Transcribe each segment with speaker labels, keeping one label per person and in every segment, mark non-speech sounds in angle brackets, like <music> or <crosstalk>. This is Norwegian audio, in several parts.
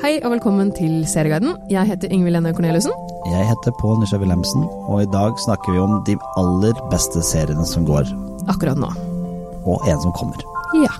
Speaker 1: Hei og velkommen til Serieguiden. Jeg heter Ingvild Ennøy Corneliussen.
Speaker 2: Jeg heter Pål Nisja Wilhelmsen, og i dag snakker vi om de aller beste seriene som går,
Speaker 1: Akkurat nå.
Speaker 2: og en som kommer.
Speaker 1: Ja.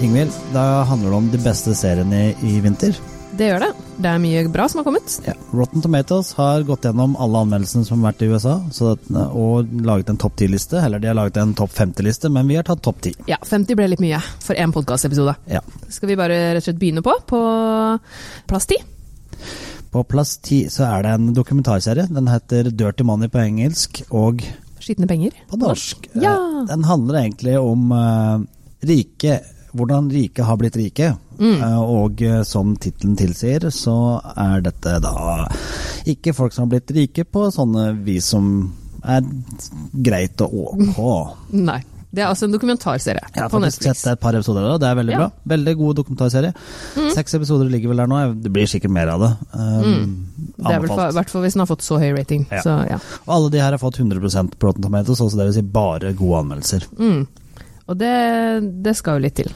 Speaker 2: Ingvild, da handler det om de beste seriene i vinter.
Speaker 1: Det gjør det. Det er mye bra som har kommet.
Speaker 2: Ja. Rotten Tomatoes har gått gjennom alle anmeldelsene som har vært i USA, så at, og laget en topp 10-liste. Eller de har laget en topp 50-liste, men vi har tatt topp 10.
Speaker 1: Ja, 50 ble litt mye for én podkastepisode.
Speaker 2: Ja.
Speaker 1: Skal vi bare rett og slett begynne på? På plass ti.
Speaker 2: På plass 10 så er det en dokumentarserie. Den heter Dirty Money på engelsk og
Speaker 1: Skitne penger.
Speaker 2: på norsk.
Speaker 1: Ja.
Speaker 2: Eh, Den handler egentlig om eh, rike, hvordan rike har blitt rike.
Speaker 1: Mm.
Speaker 2: Eh, og eh, som tittelen tilsier, så er dette da ikke folk som har blitt rike på sånne vis som er greit og ok.
Speaker 1: Nei. Det er altså en dokumentarserie
Speaker 2: Jeg har
Speaker 1: Mm. på
Speaker 2: faktisk
Speaker 1: Netflix.
Speaker 2: sett et par episoder av det, det er veldig
Speaker 1: Ja. Mm.
Speaker 2: bra. Veldig god dokumentarserie. Seks episoder ligger vel der nå, det blir sikkert mer av det. Um,
Speaker 1: Mm. Det er vel
Speaker 2: anbefalt.
Speaker 1: for, hvert fall hvis den har fått så høy rating.
Speaker 2: Ja.
Speaker 1: Så, ja.
Speaker 2: Og alle de her har fått 100 på Rotten Tomatoes, altså det vil si bare gode anmeldelser.
Speaker 1: Mm. Og det, det skal jo litt til.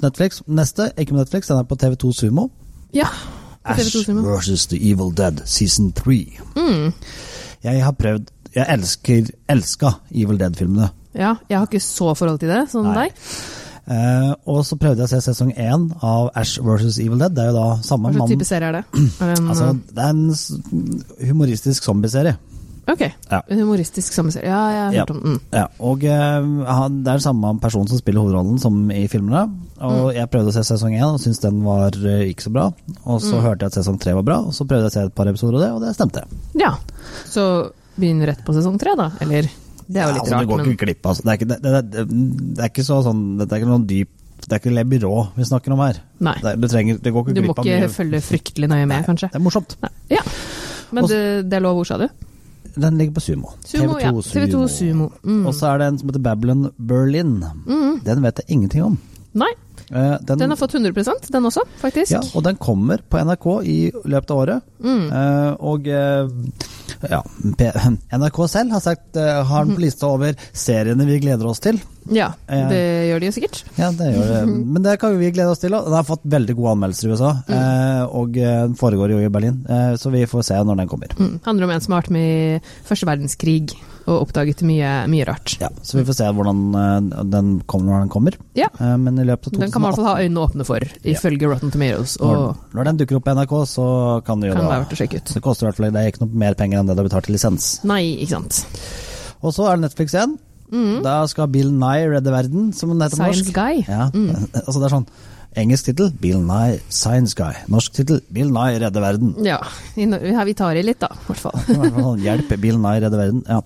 Speaker 2: Netflix, neste, ikke på Netflix, den er på TV2 Sumo.
Speaker 1: Ja. på
Speaker 2: Ash
Speaker 1: TV2 Sumo.
Speaker 2: versus The Evil Dead season 3. Jeg har prøvd Jeg elsker elska Evil Dead-filmene.
Speaker 1: Ja, jeg har ikke så forhold til det som
Speaker 2: Nei.
Speaker 1: deg.
Speaker 2: Eh, og så prøvde jeg å se sesong én av Ash versus Evil Dead. Det er jo da samme
Speaker 1: Hva slags
Speaker 2: mann
Speaker 1: type serie er det? Er det en,
Speaker 2: altså, Det er en s- humoristisk zombieserie.
Speaker 1: ok,
Speaker 2: Ja.
Speaker 1: en humoristisk sammenserie. Ja, jeg har
Speaker 2: Ja.
Speaker 1: hørt om den. Mm.
Speaker 2: Ja, og eh, han, Det er samme person som spiller hovedrollen som i filmene. Og Jeg prøvde å se sesong én og syntes den var eh, ikke så bra. Og Så hørte jeg at sesong tre var bra, og så prøvde jeg å se et par episoder av det, og det stemte.
Speaker 1: Ja, så begynn rett på sesong tre, da. Eller Det er jo litt
Speaker 2: altså,
Speaker 1: rart,
Speaker 2: Du går
Speaker 1: men
Speaker 2: ikke glipp av altså. det, er ikke- det, det, det, det er ikke så sånn Det er ikke noen dyp Det er ikke Le Byrå vi snakker om her.
Speaker 1: Nei.
Speaker 2: Det, er- du, trenger, det går ikke
Speaker 1: Du må
Speaker 2: glipp av
Speaker 1: ikke
Speaker 2: mye.
Speaker 1: følge fryktelig nøye med, kanskje.
Speaker 2: Det er morsomt.
Speaker 1: Nei. Ja. Men
Speaker 2: Og så-
Speaker 1: det, det er lov, hvor sa du?
Speaker 2: Den ligger på Sumo.
Speaker 1: Sumo, ja. TV2 Sumo. Mm.
Speaker 2: Og så er det en som heter Babylon Berlin. Den vet jeg ingenting om.
Speaker 1: Nei,
Speaker 2: Eh,
Speaker 1: den har fått 100 den også, faktisk.
Speaker 2: Ja, og den kommer på NRK i løpet av året.
Speaker 1: Mm.
Speaker 2: Eh, og eh, ja, P <laughs> NRK selv har, sagt, eh,
Speaker 1: <laughs>
Speaker 2: har den på lista over seriene vi gleder oss til.
Speaker 1: Ja,
Speaker 2: Eh.
Speaker 1: det gjør de jo sikkert.
Speaker 2: Ja, det
Speaker 1: <laughs>
Speaker 2: gjør det. Men det kan jo vi glede oss til. også. Den har fått veldig gode anmeldelser i USA,
Speaker 1: Mm.
Speaker 2: eh, og eh, den foregår jo i Berlin. eh, Så vi får se når den kommer.
Speaker 1: Mm. Handler om en som har vært med i første verdenskrig og oppdaget mye, mye rart.
Speaker 2: Ja, så vi får se hvordan eh, den kommer når den kommer.
Speaker 1: Ja.
Speaker 2: Eh, Men i løpet av
Speaker 1: Den kan man i hvert
Speaker 2: 2018,
Speaker 1: fall ha øynene åpne for, ifølge Rotten Tomatoes.
Speaker 2: når,
Speaker 1: Og
Speaker 2: når den dukker opp på NRK, så kan det jo
Speaker 1: kan det
Speaker 2: da
Speaker 1: være verdt å sjekke ut.
Speaker 2: Det koster i hvert fall det er ikke noe mer penger enn det du har betalt i lisens.
Speaker 1: Nei, ikke sant.
Speaker 2: Og så er det Netflix igjen. Da skal Bill Nye redde verden, som den heter på
Speaker 1: Mm. Science
Speaker 2: norsk.
Speaker 1: Guy. Mm.
Speaker 2: Ja, <laughs> altså det er sånn Engelsk tittel Bill Nye Science Guy. Norsk tittel Bill Nye redde verden.
Speaker 1: Ja, i Nor- ja, vi tar i litt da, i hvert fall.
Speaker 2: Det var sånn, Hjelp, Bill Nye redder verden. Ja.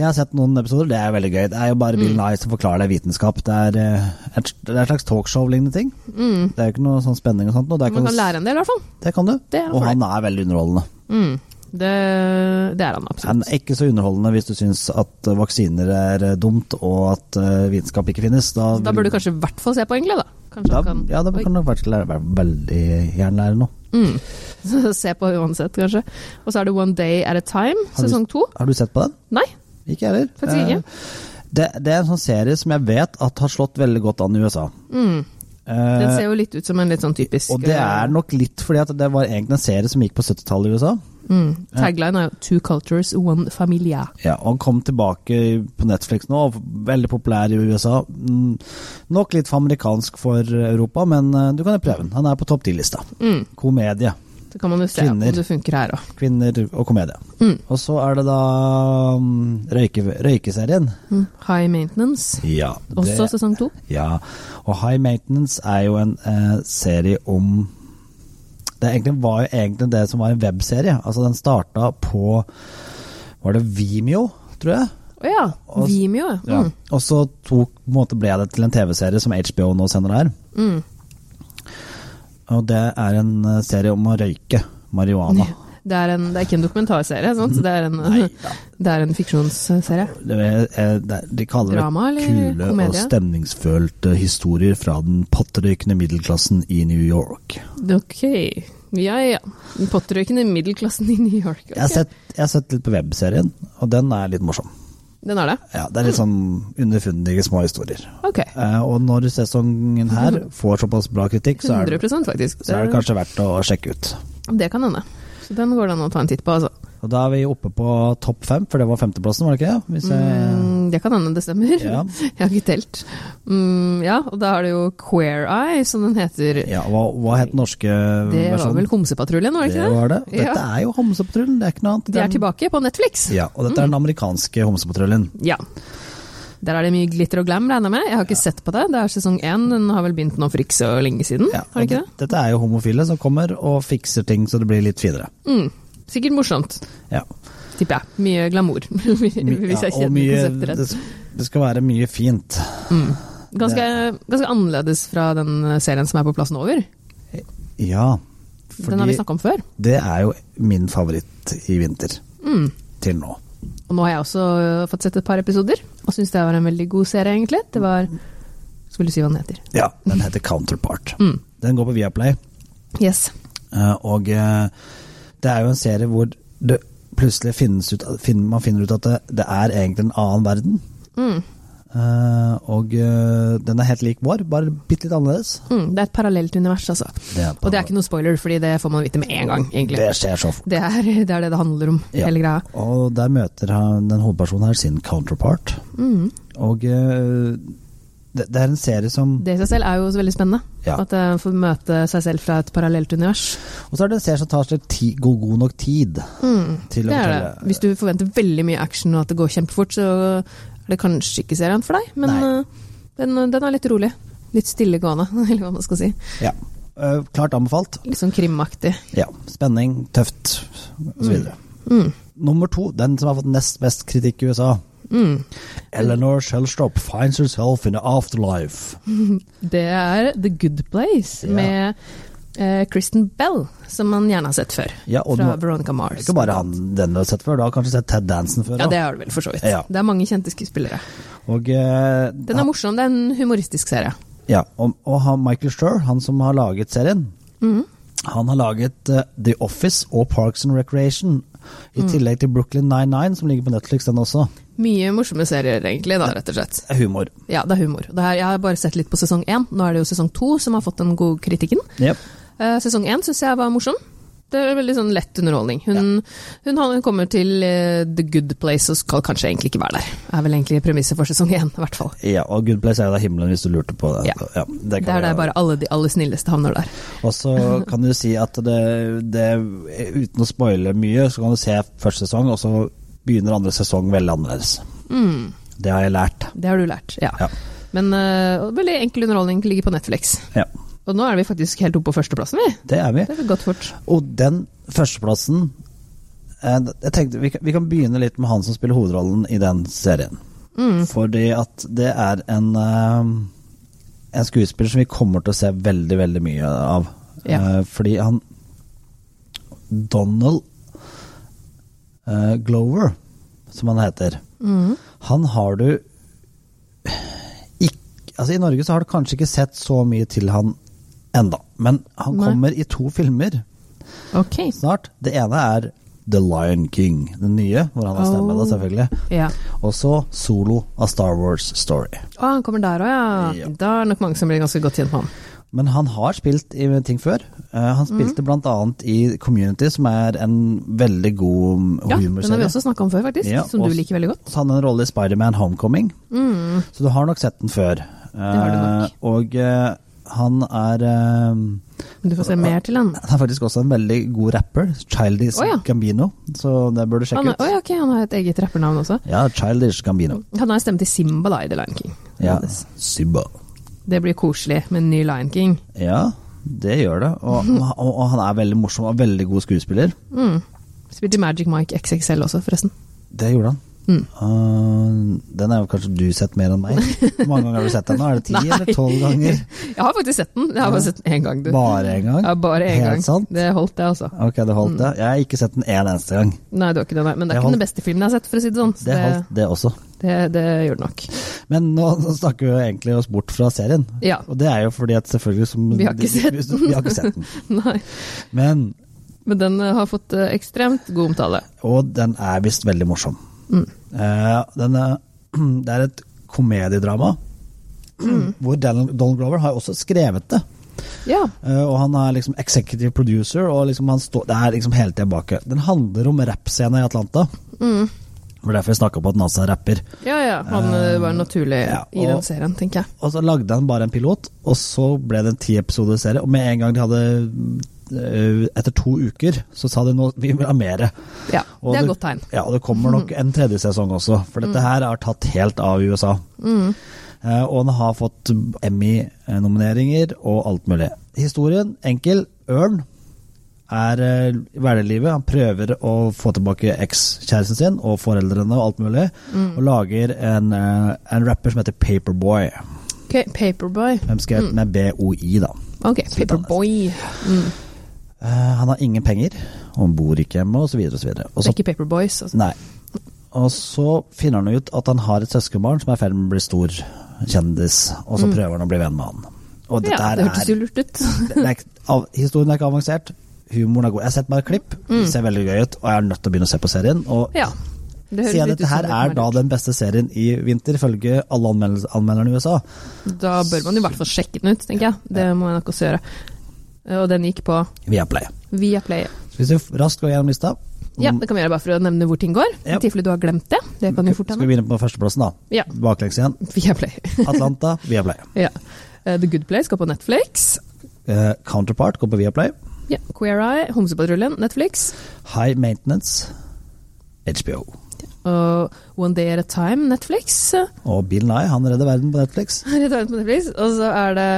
Speaker 2: Jeg har sett noen episoder, det er veldig gøy. Det er jo bare
Speaker 1: Mm.
Speaker 2: Bill Nye som forklarer deg vitenskap. Det er, eh, et, det er et slags talkshow-lignende ting. Det er jo ikke noe sånn spenning og sånt. Og det,
Speaker 1: Mm. Man
Speaker 2: kan,
Speaker 1: kan lære en del, i hvert fall.
Speaker 2: det kan du.
Speaker 1: Det er en
Speaker 2: og han er veldig underholdende.
Speaker 1: Mm. Det, det er han
Speaker 2: Han
Speaker 1: absolutt.
Speaker 2: er ikke så underholdende hvis du syns at eh, vaksiner er eh, dumt og at eh, vitenskap ikke finnes. Da,
Speaker 1: Da burde du kanskje i hvert fall se på, egentlig. da. Kanskje
Speaker 2: da,
Speaker 1: du kan
Speaker 2: Ja, da
Speaker 1: Oi.
Speaker 2: kan du faktisk lære, være veldig gjerne lære noe.
Speaker 1: <laughs> Så se på uansett, kanskje. Og så er det One Day at a Time,
Speaker 2: du-
Speaker 1: sesong to.
Speaker 2: Har du sett på den?
Speaker 1: Nei,
Speaker 2: Ikke jeg heller.
Speaker 1: Faktisk ikke.
Speaker 2: Eh, Det, det er en sånn serie som jeg vet at har slått veldig godt an i USA. Eh,
Speaker 1: Mm. den ser jo litt ut som en litt sånn typisk
Speaker 2: og det er nok litt fordi at det var egentlig en serie som gikk på 70-tallet i USA.
Speaker 1: Mm. Tagline er jo 'Two cultures, one familia'.
Speaker 2: Ja, og kom tilbake på Netflix nå, og veldig populær i USA. Mm, Nok litt for amerikansk for Europa, men eh, du kan jo prøve den. Han er på topp 10-lista.
Speaker 1: Mm.
Speaker 2: Komedie.
Speaker 1: Så kan man jo se
Speaker 2: Kvinner.
Speaker 1: om det funker her òg.
Speaker 2: Kvinner og komedie. Og så er det da mm, røyke, røykeserien.
Speaker 1: Mm. High Maintenance,
Speaker 2: Ja,
Speaker 1: også sesong to.
Speaker 2: ja. Og High Maintenance er jo en eh, serie om Det er egentlig, var jo egentlig det som var en webserie. Altså Den starta på Var det Vimeo, tror jeg?
Speaker 1: Å ja,
Speaker 2: Og-
Speaker 1: Vimeo. ja.
Speaker 2: Ja.
Speaker 1: Mm.
Speaker 2: Og så tok, på en måte ble det til en TV-serie som HBO nå sender her.
Speaker 1: Mm.
Speaker 2: Og det er en eh, serie om å røyke marihuana.
Speaker 1: Det er, en, det er ikke en dokumentarserie, sant? så det er en,
Speaker 2: Neida.
Speaker 1: <laughs> det er en fiksjonsserie.
Speaker 2: Det er- er- det er- De kaller
Speaker 1: Drama eller
Speaker 2: det kule og
Speaker 1: komedie?
Speaker 2: stemningsfølte historier fra den potterøykende middelklassen i New York.
Speaker 1: Ok. Ja, ja. Den Potterøykende middelklassen i New York. ok.
Speaker 2: Jeg, har sett, jeg har sett litt på webserien, og den er litt morsom.
Speaker 1: Den er det?
Speaker 2: Ja, Det er litt sånn underfundige små historier.
Speaker 1: Ok.
Speaker 2: Eh, Og når sesongen her får såpass bra kritikk, så er det,
Speaker 1: 100 faktisk.
Speaker 2: så er det kanskje verdt å sjekke ut.
Speaker 1: Det kan hende. Så den går det an å ta en titt på, altså.
Speaker 2: Og da er vi oppe på topp fem, for det var femteplassen, var det ikke det? Hvis jeg,
Speaker 1: Mm, det kan hende det stemmer.
Speaker 2: Ja.
Speaker 1: <laughs> Jeg har ikke telt. Mm, ja, og da er det jo Queer Eye, som den heter.
Speaker 2: ja, hva, hva het den norske
Speaker 1: det
Speaker 2: versjonen?
Speaker 1: var vel Homsepatruljen, var det ikke det?
Speaker 2: var det.
Speaker 1: Ja.
Speaker 2: Dette er jo Homsepatruljen, det er ikke noe annet.
Speaker 1: De
Speaker 2: Den-
Speaker 1: er tilbake Mm, på Netflix.
Speaker 2: Ja, og dette er den amerikanske homsepatruljen.
Speaker 1: Ja. Der er det mye glitter og glam, regner jeg med. Jeg har ikke sett på det. Det er sesong én, den har vel begynt nå for ikke så lenge siden.
Speaker 2: Ja,
Speaker 1: har det ikke
Speaker 2: og Dette er jo homofile som kommer og fikser ting så det blir litt finere.
Speaker 1: det? Mm. Sikkert morsomt,
Speaker 2: Ja.
Speaker 1: tipper jeg. Mye glamour, <laughs> hvis jeg
Speaker 2: My- ja,
Speaker 1: kjenner
Speaker 2: og mye,
Speaker 1: konseptet rett.
Speaker 2: det, det skal være mye fint.
Speaker 1: Ganske, ganske annerledes fra den serien som er på plassen over.
Speaker 2: Ja,
Speaker 1: den har
Speaker 2: fordi
Speaker 1: vi snakka om før.
Speaker 2: det er jo min favoritt i vinter. Til nå.
Speaker 1: Mm. Og nå har jeg også øh, fått sett et par episoder, og syns det var en veldig god serie, egentlig. Det var Skulle si hva den heter.
Speaker 2: Ja, den heter Counterpart.
Speaker 1: Mm.
Speaker 2: Den går på Viaplay,
Speaker 1: Yes.
Speaker 2: eh, og eh, det er jo en serie hvor det plutselig finnes ut, fin- man finner ut at det, det er egentlig en annen verden.
Speaker 1: Mm.
Speaker 2: Eh, og eh, den er helt lik vår, bare bitte litt annerledes.
Speaker 1: Mm. Det er et parallelt univers, altså.
Speaker 2: Det er
Speaker 1: Og det er ikke noe spoiler, fordi det får man vite med en gang, egentlig.
Speaker 2: Det skjer så fort.
Speaker 1: Det er <laughs> det er det, det handler om,
Speaker 2: Ja.
Speaker 1: hele greia.
Speaker 2: Og der møter han, den hovedpersonen her sin counterpart.
Speaker 1: Mm.
Speaker 2: Og eh, det, det er en serie som
Speaker 1: Det i seg selv er jo så veldig spennende.
Speaker 2: Ja.
Speaker 1: At eh, man får møte seg selv fra et parallelt univers.
Speaker 2: Og så er det en serie som tar seg ti, god, god nok tid til å
Speaker 1: Mm, Det er
Speaker 2: fortelle.
Speaker 1: det. Hvis du forventer veldig mye action og at det går kjempefort, så er det kanskje ikke serien for deg. Men
Speaker 2: Nei.
Speaker 1: eh, den, den er litt rolig. Litt stillegående, <laughs> eller hva man skal si.
Speaker 2: Ja. Eh, klart anbefalt.
Speaker 1: Litt sånn krimaktig.
Speaker 2: Ja. Spenning, tøft, osv. videre
Speaker 1: Mm.
Speaker 2: Nummer to, den som har fått nest best kritikk i USA.
Speaker 1: Mm.
Speaker 2: Eleanor Shellstrop finds herself in the afterlife.
Speaker 1: Det er The Good Place
Speaker 2: Ja.
Speaker 1: med eh, Kristen Bell, som man gjerne har sett før.
Speaker 2: Ja, og
Speaker 1: fra
Speaker 2: den-
Speaker 1: Veronica
Speaker 2: Det er
Speaker 1: Mars.
Speaker 2: ikke bare han den du har sett før, du har kanskje sett Ted Danson før.
Speaker 1: Ja,
Speaker 2: da.
Speaker 1: det har du vel for så vidt.
Speaker 2: Ja.
Speaker 1: Det er mange kjente skuespillere.
Speaker 2: Og, eh,
Speaker 1: Den er morsom, det er en humoristisk serie.
Speaker 2: Ja, og, og han, Michael Schur, han som har laget serien,
Speaker 1: Mhm.
Speaker 2: han har laget eh, The Office og Parks and Recreation, i
Speaker 1: Mhm.
Speaker 2: tillegg til Brooklyn Nine-Nine, som ligger på Netflix, den også.
Speaker 1: Mye morsomme serier, egentlig, da, rett og slett.
Speaker 2: Det er humor.
Speaker 1: Ja, det er humor. Det her, jeg har bare sett litt på sesong én. Nå er det jo sesong to som har fått den gode kritikken. Eh, sesong én syns jeg var morsom. Det er veldig sånn lett underholdning. Hun, hun, har- hun kommer til eh, the good place og skal kanskje egentlig ikke være der. Er vel egentlig premisset for sesong én, i hvert fall.
Speaker 2: Ja, og Good Place er jo da himmelen, hvis du lurte på det.
Speaker 1: Ja.
Speaker 2: det kan
Speaker 1: Det er
Speaker 2: vi
Speaker 1: der
Speaker 2: gjøre.
Speaker 1: bare alle de aller snilleste havner der.
Speaker 2: Og så
Speaker 1: <laughs>
Speaker 2: kan du si at det, det Uten å spoile mye, så kan du se første sesong, og så begynner andre sesong veldig annerledes.
Speaker 1: Mm.
Speaker 2: Det har jeg lært.
Speaker 1: Det har du lært, ja.
Speaker 2: Ja.
Speaker 1: Men eh, og veldig enkel underholdning ligger på Netflix.
Speaker 2: Ja,
Speaker 1: Og nå er vi faktisk helt oppe på førsteplassen, vi.
Speaker 2: det er vi.
Speaker 1: Det har gått fort.
Speaker 2: Og den førsteplassen eh, jeg tenkte, vi, kan, vi kan begynne litt med han som spiller hovedrollen i den serien.
Speaker 1: Mm.
Speaker 2: Fordi at det er en, eh, en skuespiller som vi kommer til å se veldig, veldig mye av.
Speaker 1: Ja.
Speaker 2: Eh, fordi han Donald eh, Glover, som han heter,
Speaker 1: Mm.
Speaker 2: han har du ikke Altså, i Norge så har du kanskje ikke sett så mye til han enda, men han
Speaker 1: Nei.
Speaker 2: kommer i to filmer
Speaker 1: Ok.
Speaker 2: snart. Det ene er The Lion King, den nye, hvor han har stemme, da,
Speaker 1: Oh.
Speaker 2: selvfølgelig.
Speaker 1: Ja.
Speaker 2: Og så Solo av Star Wars Story.
Speaker 1: Å, han kommer der òg, ja.
Speaker 2: Ja.
Speaker 1: Da er det nok mange som blir ganske godt kjent med han.
Speaker 2: Men han har spilt i ting før. Eh, han
Speaker 1: Mm.
Speaker 2: spilte blant annet i Community, som er en veldig god
Speaker 1: Ja,
Speaker 2: humorserie.
Speaker 1: den har vi også snakka om før, faktisk.
Speaker 2: Ja,
Speaker 1: som du
Speaker 2: og-
Speaker 1: liker veldig godt. Mm.
Speaker 2: Så han har en rolle i Spiderman Homecoming, så du har nok sett den før.
Speaker 1: har du nok.
Speaker 2: Eh, og eh, han er eh,
Speaker 1: Men du får se mer til han.
Speaker 2: Han er faktisk også en veldig god rapper, Childish
Speaker 1: Å, ja.
Speaker 2: Gambino, så det bør du
Speaker 1: Han,
Speaker 2: sjekke ut.
Speaker 1: oi, ok, han har et eget rappernavn også.
Speaker 2: Ja, Childish Gambino.
Speaker 1: Han har en stemme til Simba da, i The Lion King.
Speaker 2: Ja. Simba.
Speaker 1: Det blir koselig med en ny Lion King.
Speaker 2: Ja, det gjør det. <laughs> Og, og, og han er veldig morsom og veldig god skuespiller.
Speaker 1: Mm. Spilte Magic Mike XXL også, forresten.
Speaker 2: Det gjorde han.
Speaker 1: Mm.
Speaker 2: Uh, den har jo kanskje du sett mer enn meg. Hvor mange ganger har du sett den? nå? Er det ti <laughs>
Speaker 1: Nei.
Speaker 2: eller tolv ganger?
Speaker 1: <laughs> Jeg har faktisk sett den. Jeg har bare sett den én gang. Du.
Speaker 2: Bare en gang?
Speaker 1: Ja, bare én
Speaker 2: Helt
Speaker 1: gang.
Speaker 2: sant?
Speaker 1: Det holdt, det, altså.
Speaker 2: Ok, det holdt det. Jeg har ikke sett den en eneste gang.
Speaker 1: Nei, det var ikke det, nei. Men det
Speaker 2: Det
Speaker 1: er ikke
Speaker 2: holdt.
Speaker 1: den beste filmen jeg har sett, for å si det sånn. Så
Speaker 2: Det holdt, det også.
Speaker 1: det, det gjør det nok.
Speaker 2: Men nå, nå snakker vi jo egentlig oss bort fra serien.
Speaker 1: Ja.
Speaker 2: Og det er jo fordi at selvfølgelig som
Speaker 1: Vi har ikke sett
Speaker 2: den. <laughs> Vi har ikke sett den.
Speaker 1: <laughs> Nei.
Speaker 2: Men,
Speaker 1: Men den eh, har fått eh, ekstremt god omtale.
Speaker 2: og den er visst veldig morsom.
Speaker 1: Mm.
Speaker 2: Eh, den er, <clears throat> det er et komediedrama.
Speaker 1: Mm.
Speaker 2: Hvor Donald Donald Glover har også skrevet det.
Speaker 1: Ja.
Speaker 2: Eh, Og han er liksom executive producer, og liksom han står, det er liksom hele tida bak. Den handler om rappscena i Atlanta.
Speaker 1: Mm.
Speaker 2: Det var derfor vi snakka på at Nasa rapper.
Speaker 1: Ja ja, han eh, var naturlig
Speaker 2: ja,
Speaker 1: i den
Speaker 2: og-
Speaker 1: serien, tenker jeg.
Speaker 2: Og så lagde han bare en pilot, og så ble det en tiepisodeserie. Og med en gang de hadde øh, Etter to uker så sa de nå vi vil ha mer.
Speaker 1: Ja,
Speaker 2: Og
Speaker 1: Det er
Speaker 2: det-
Speaker 1: et godt tegn. Mm.
Speaker 2: Ja, og det kommer nok en tredje sesong også, for dette her er tatt helt av i USA. Eh, og den har fått Emmy-nomineringer og alt mulig. Historien enkel. Ørn er eh, i hverdagslivet. Han prøver å få tilbake ekskjæresten sin og foreldrene og alt mulig,
Speaker 1: Mm.
Speaker 2: og lager en, eh, en rapper som heter Paperboy.
Speaker 1: Ok, Paperboy.
Speaker 2: Hvem skrev
Speaker 1: Mm.
Speaker 2: med BOI, da.
Speaker 1: Ok, Paperboy. Mm.
Speaker 2: Eh, han har ingen penger, og han bor ikke hjemme, osv. Og, så videre, og,
Speaker 1: Det er
Speaker 2: så-
Speaker 1: ikke Paperboys, altså.
Speaker 2: Nei. og så finner han ut at han har et søskenbarn som er i ferd med å bli stor kjendis, og så prøver han å bli venn med han. Og dette
Speaker 1: Mm. Ja,
Speaker 2: her
Speaker 1: det hørtes
Speaker 2: er,
Speaker 1: jo lurt ut. <laughs>
Speaker 2: det er ikke, av, Historien er ikke avansert, humoren er god. Jeg har sett bare klipp, det ser veldig gøy ut, og jeg er nødt til å begynne å se på serien. Og
Speaker 1: Mm. Ja. Det høres
Speaker 2: siden
Speaker 1: litt ut
Speaker 2: dette
Speaker 1: som
Speaker 2: her
Speaker 1: det som
Speaker 2: er da den beste serien i vinter, ifølge alle anmeldels- anmelderne i USA,
Speaker 1: Da bør man i hvert fall sjekke den ut, tenker jeg. Det må jeg nok også gjøre. Eh, Og den gikk på
Speaker 2: via Play.
Speaker 1: Viaplay.
Speaker 2: Så hvis vi raskt går gjennom lista
Speaker 1: Ja, det kan vi gjøre bare for å nevne hvor ting går.
Speaker 2: Mm. Ja.
Speaker 1: I tilfelle du har glemt det. Det kan jo fort
Speaker 2: Skal vi
Speaker 1: hende.
Speaker 2: begynne på førsteplassen, da?
Speaker 1: Ja. <laughs>
Speaker 2: Baklengs igjen.
Speaker 1: Viaplay.
Speaker 2: Atlanta, <laughs> Viaplay.
Speaker 1: ja. Eh, The Good Play skal på Netflix.
Speaker 2: Eh, Counterpart går på Viaplay.
Speaker 1: Ja. Queer Eye, Homsepatruljen, Netflix.
Speaker 2: High Maintenance, HBO.
Speaker 1: Og One Day At A Time, Netflix. <laughs>
Speaker 2: Og Bill Nye, han redder verden på Netflix.
Speaker 1: Her er det på Netflix. Og så er det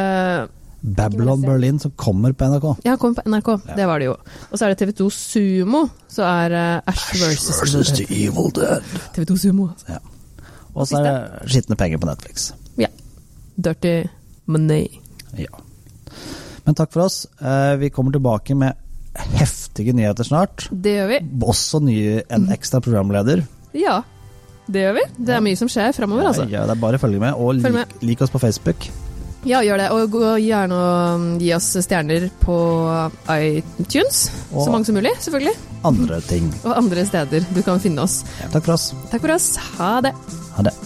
Speaker 2: Babylon Berlin, som kommer på NRK.
Speaker 1: Ja, kom på NRK. Det var det jo. Og så er det TV2 Sumo. Så er eh, Ash versus
Speaker 2: the Evil Dead.
Speaker 1: TV2 Sumo. altså.
Speaker 2: Ja. Og så er det skitne penger på Netflix.
Speaker 1: Ja. Dirty Money.
Speaker 2: Ja. Men takk for oss. Eh, Vi kommer tilbake med heftige nyheter snart.
Speaker 1: Det gjør vi.
Speaker 2: Også nye, en
Speaker 1: Mhm.
Speaker 2: ekstra programleder.
Speaker 1: Ja, det gjør vi. Det er mye som skjer framover, altså.
Speaker 2: Ja, det er bare å følge med. Og
Speaker 1: Følg
Speaker 2: lik, lik oss på Facebook.
Speaker 1: Ja, gjør det. Og gå gjerne og mm, gi oss stjerner på iTunes.
Speaker 2: Og-
Speaker 1: Så mange som mulig, selvfølgelig.
Speaker 2: Andre ting.
Speaker 1: Og andre steder du kan finne oss.
Speaker 2: Takk for oss.
Speaker 1: Takk for oss. Ha det.
Speaker 2: Ha det.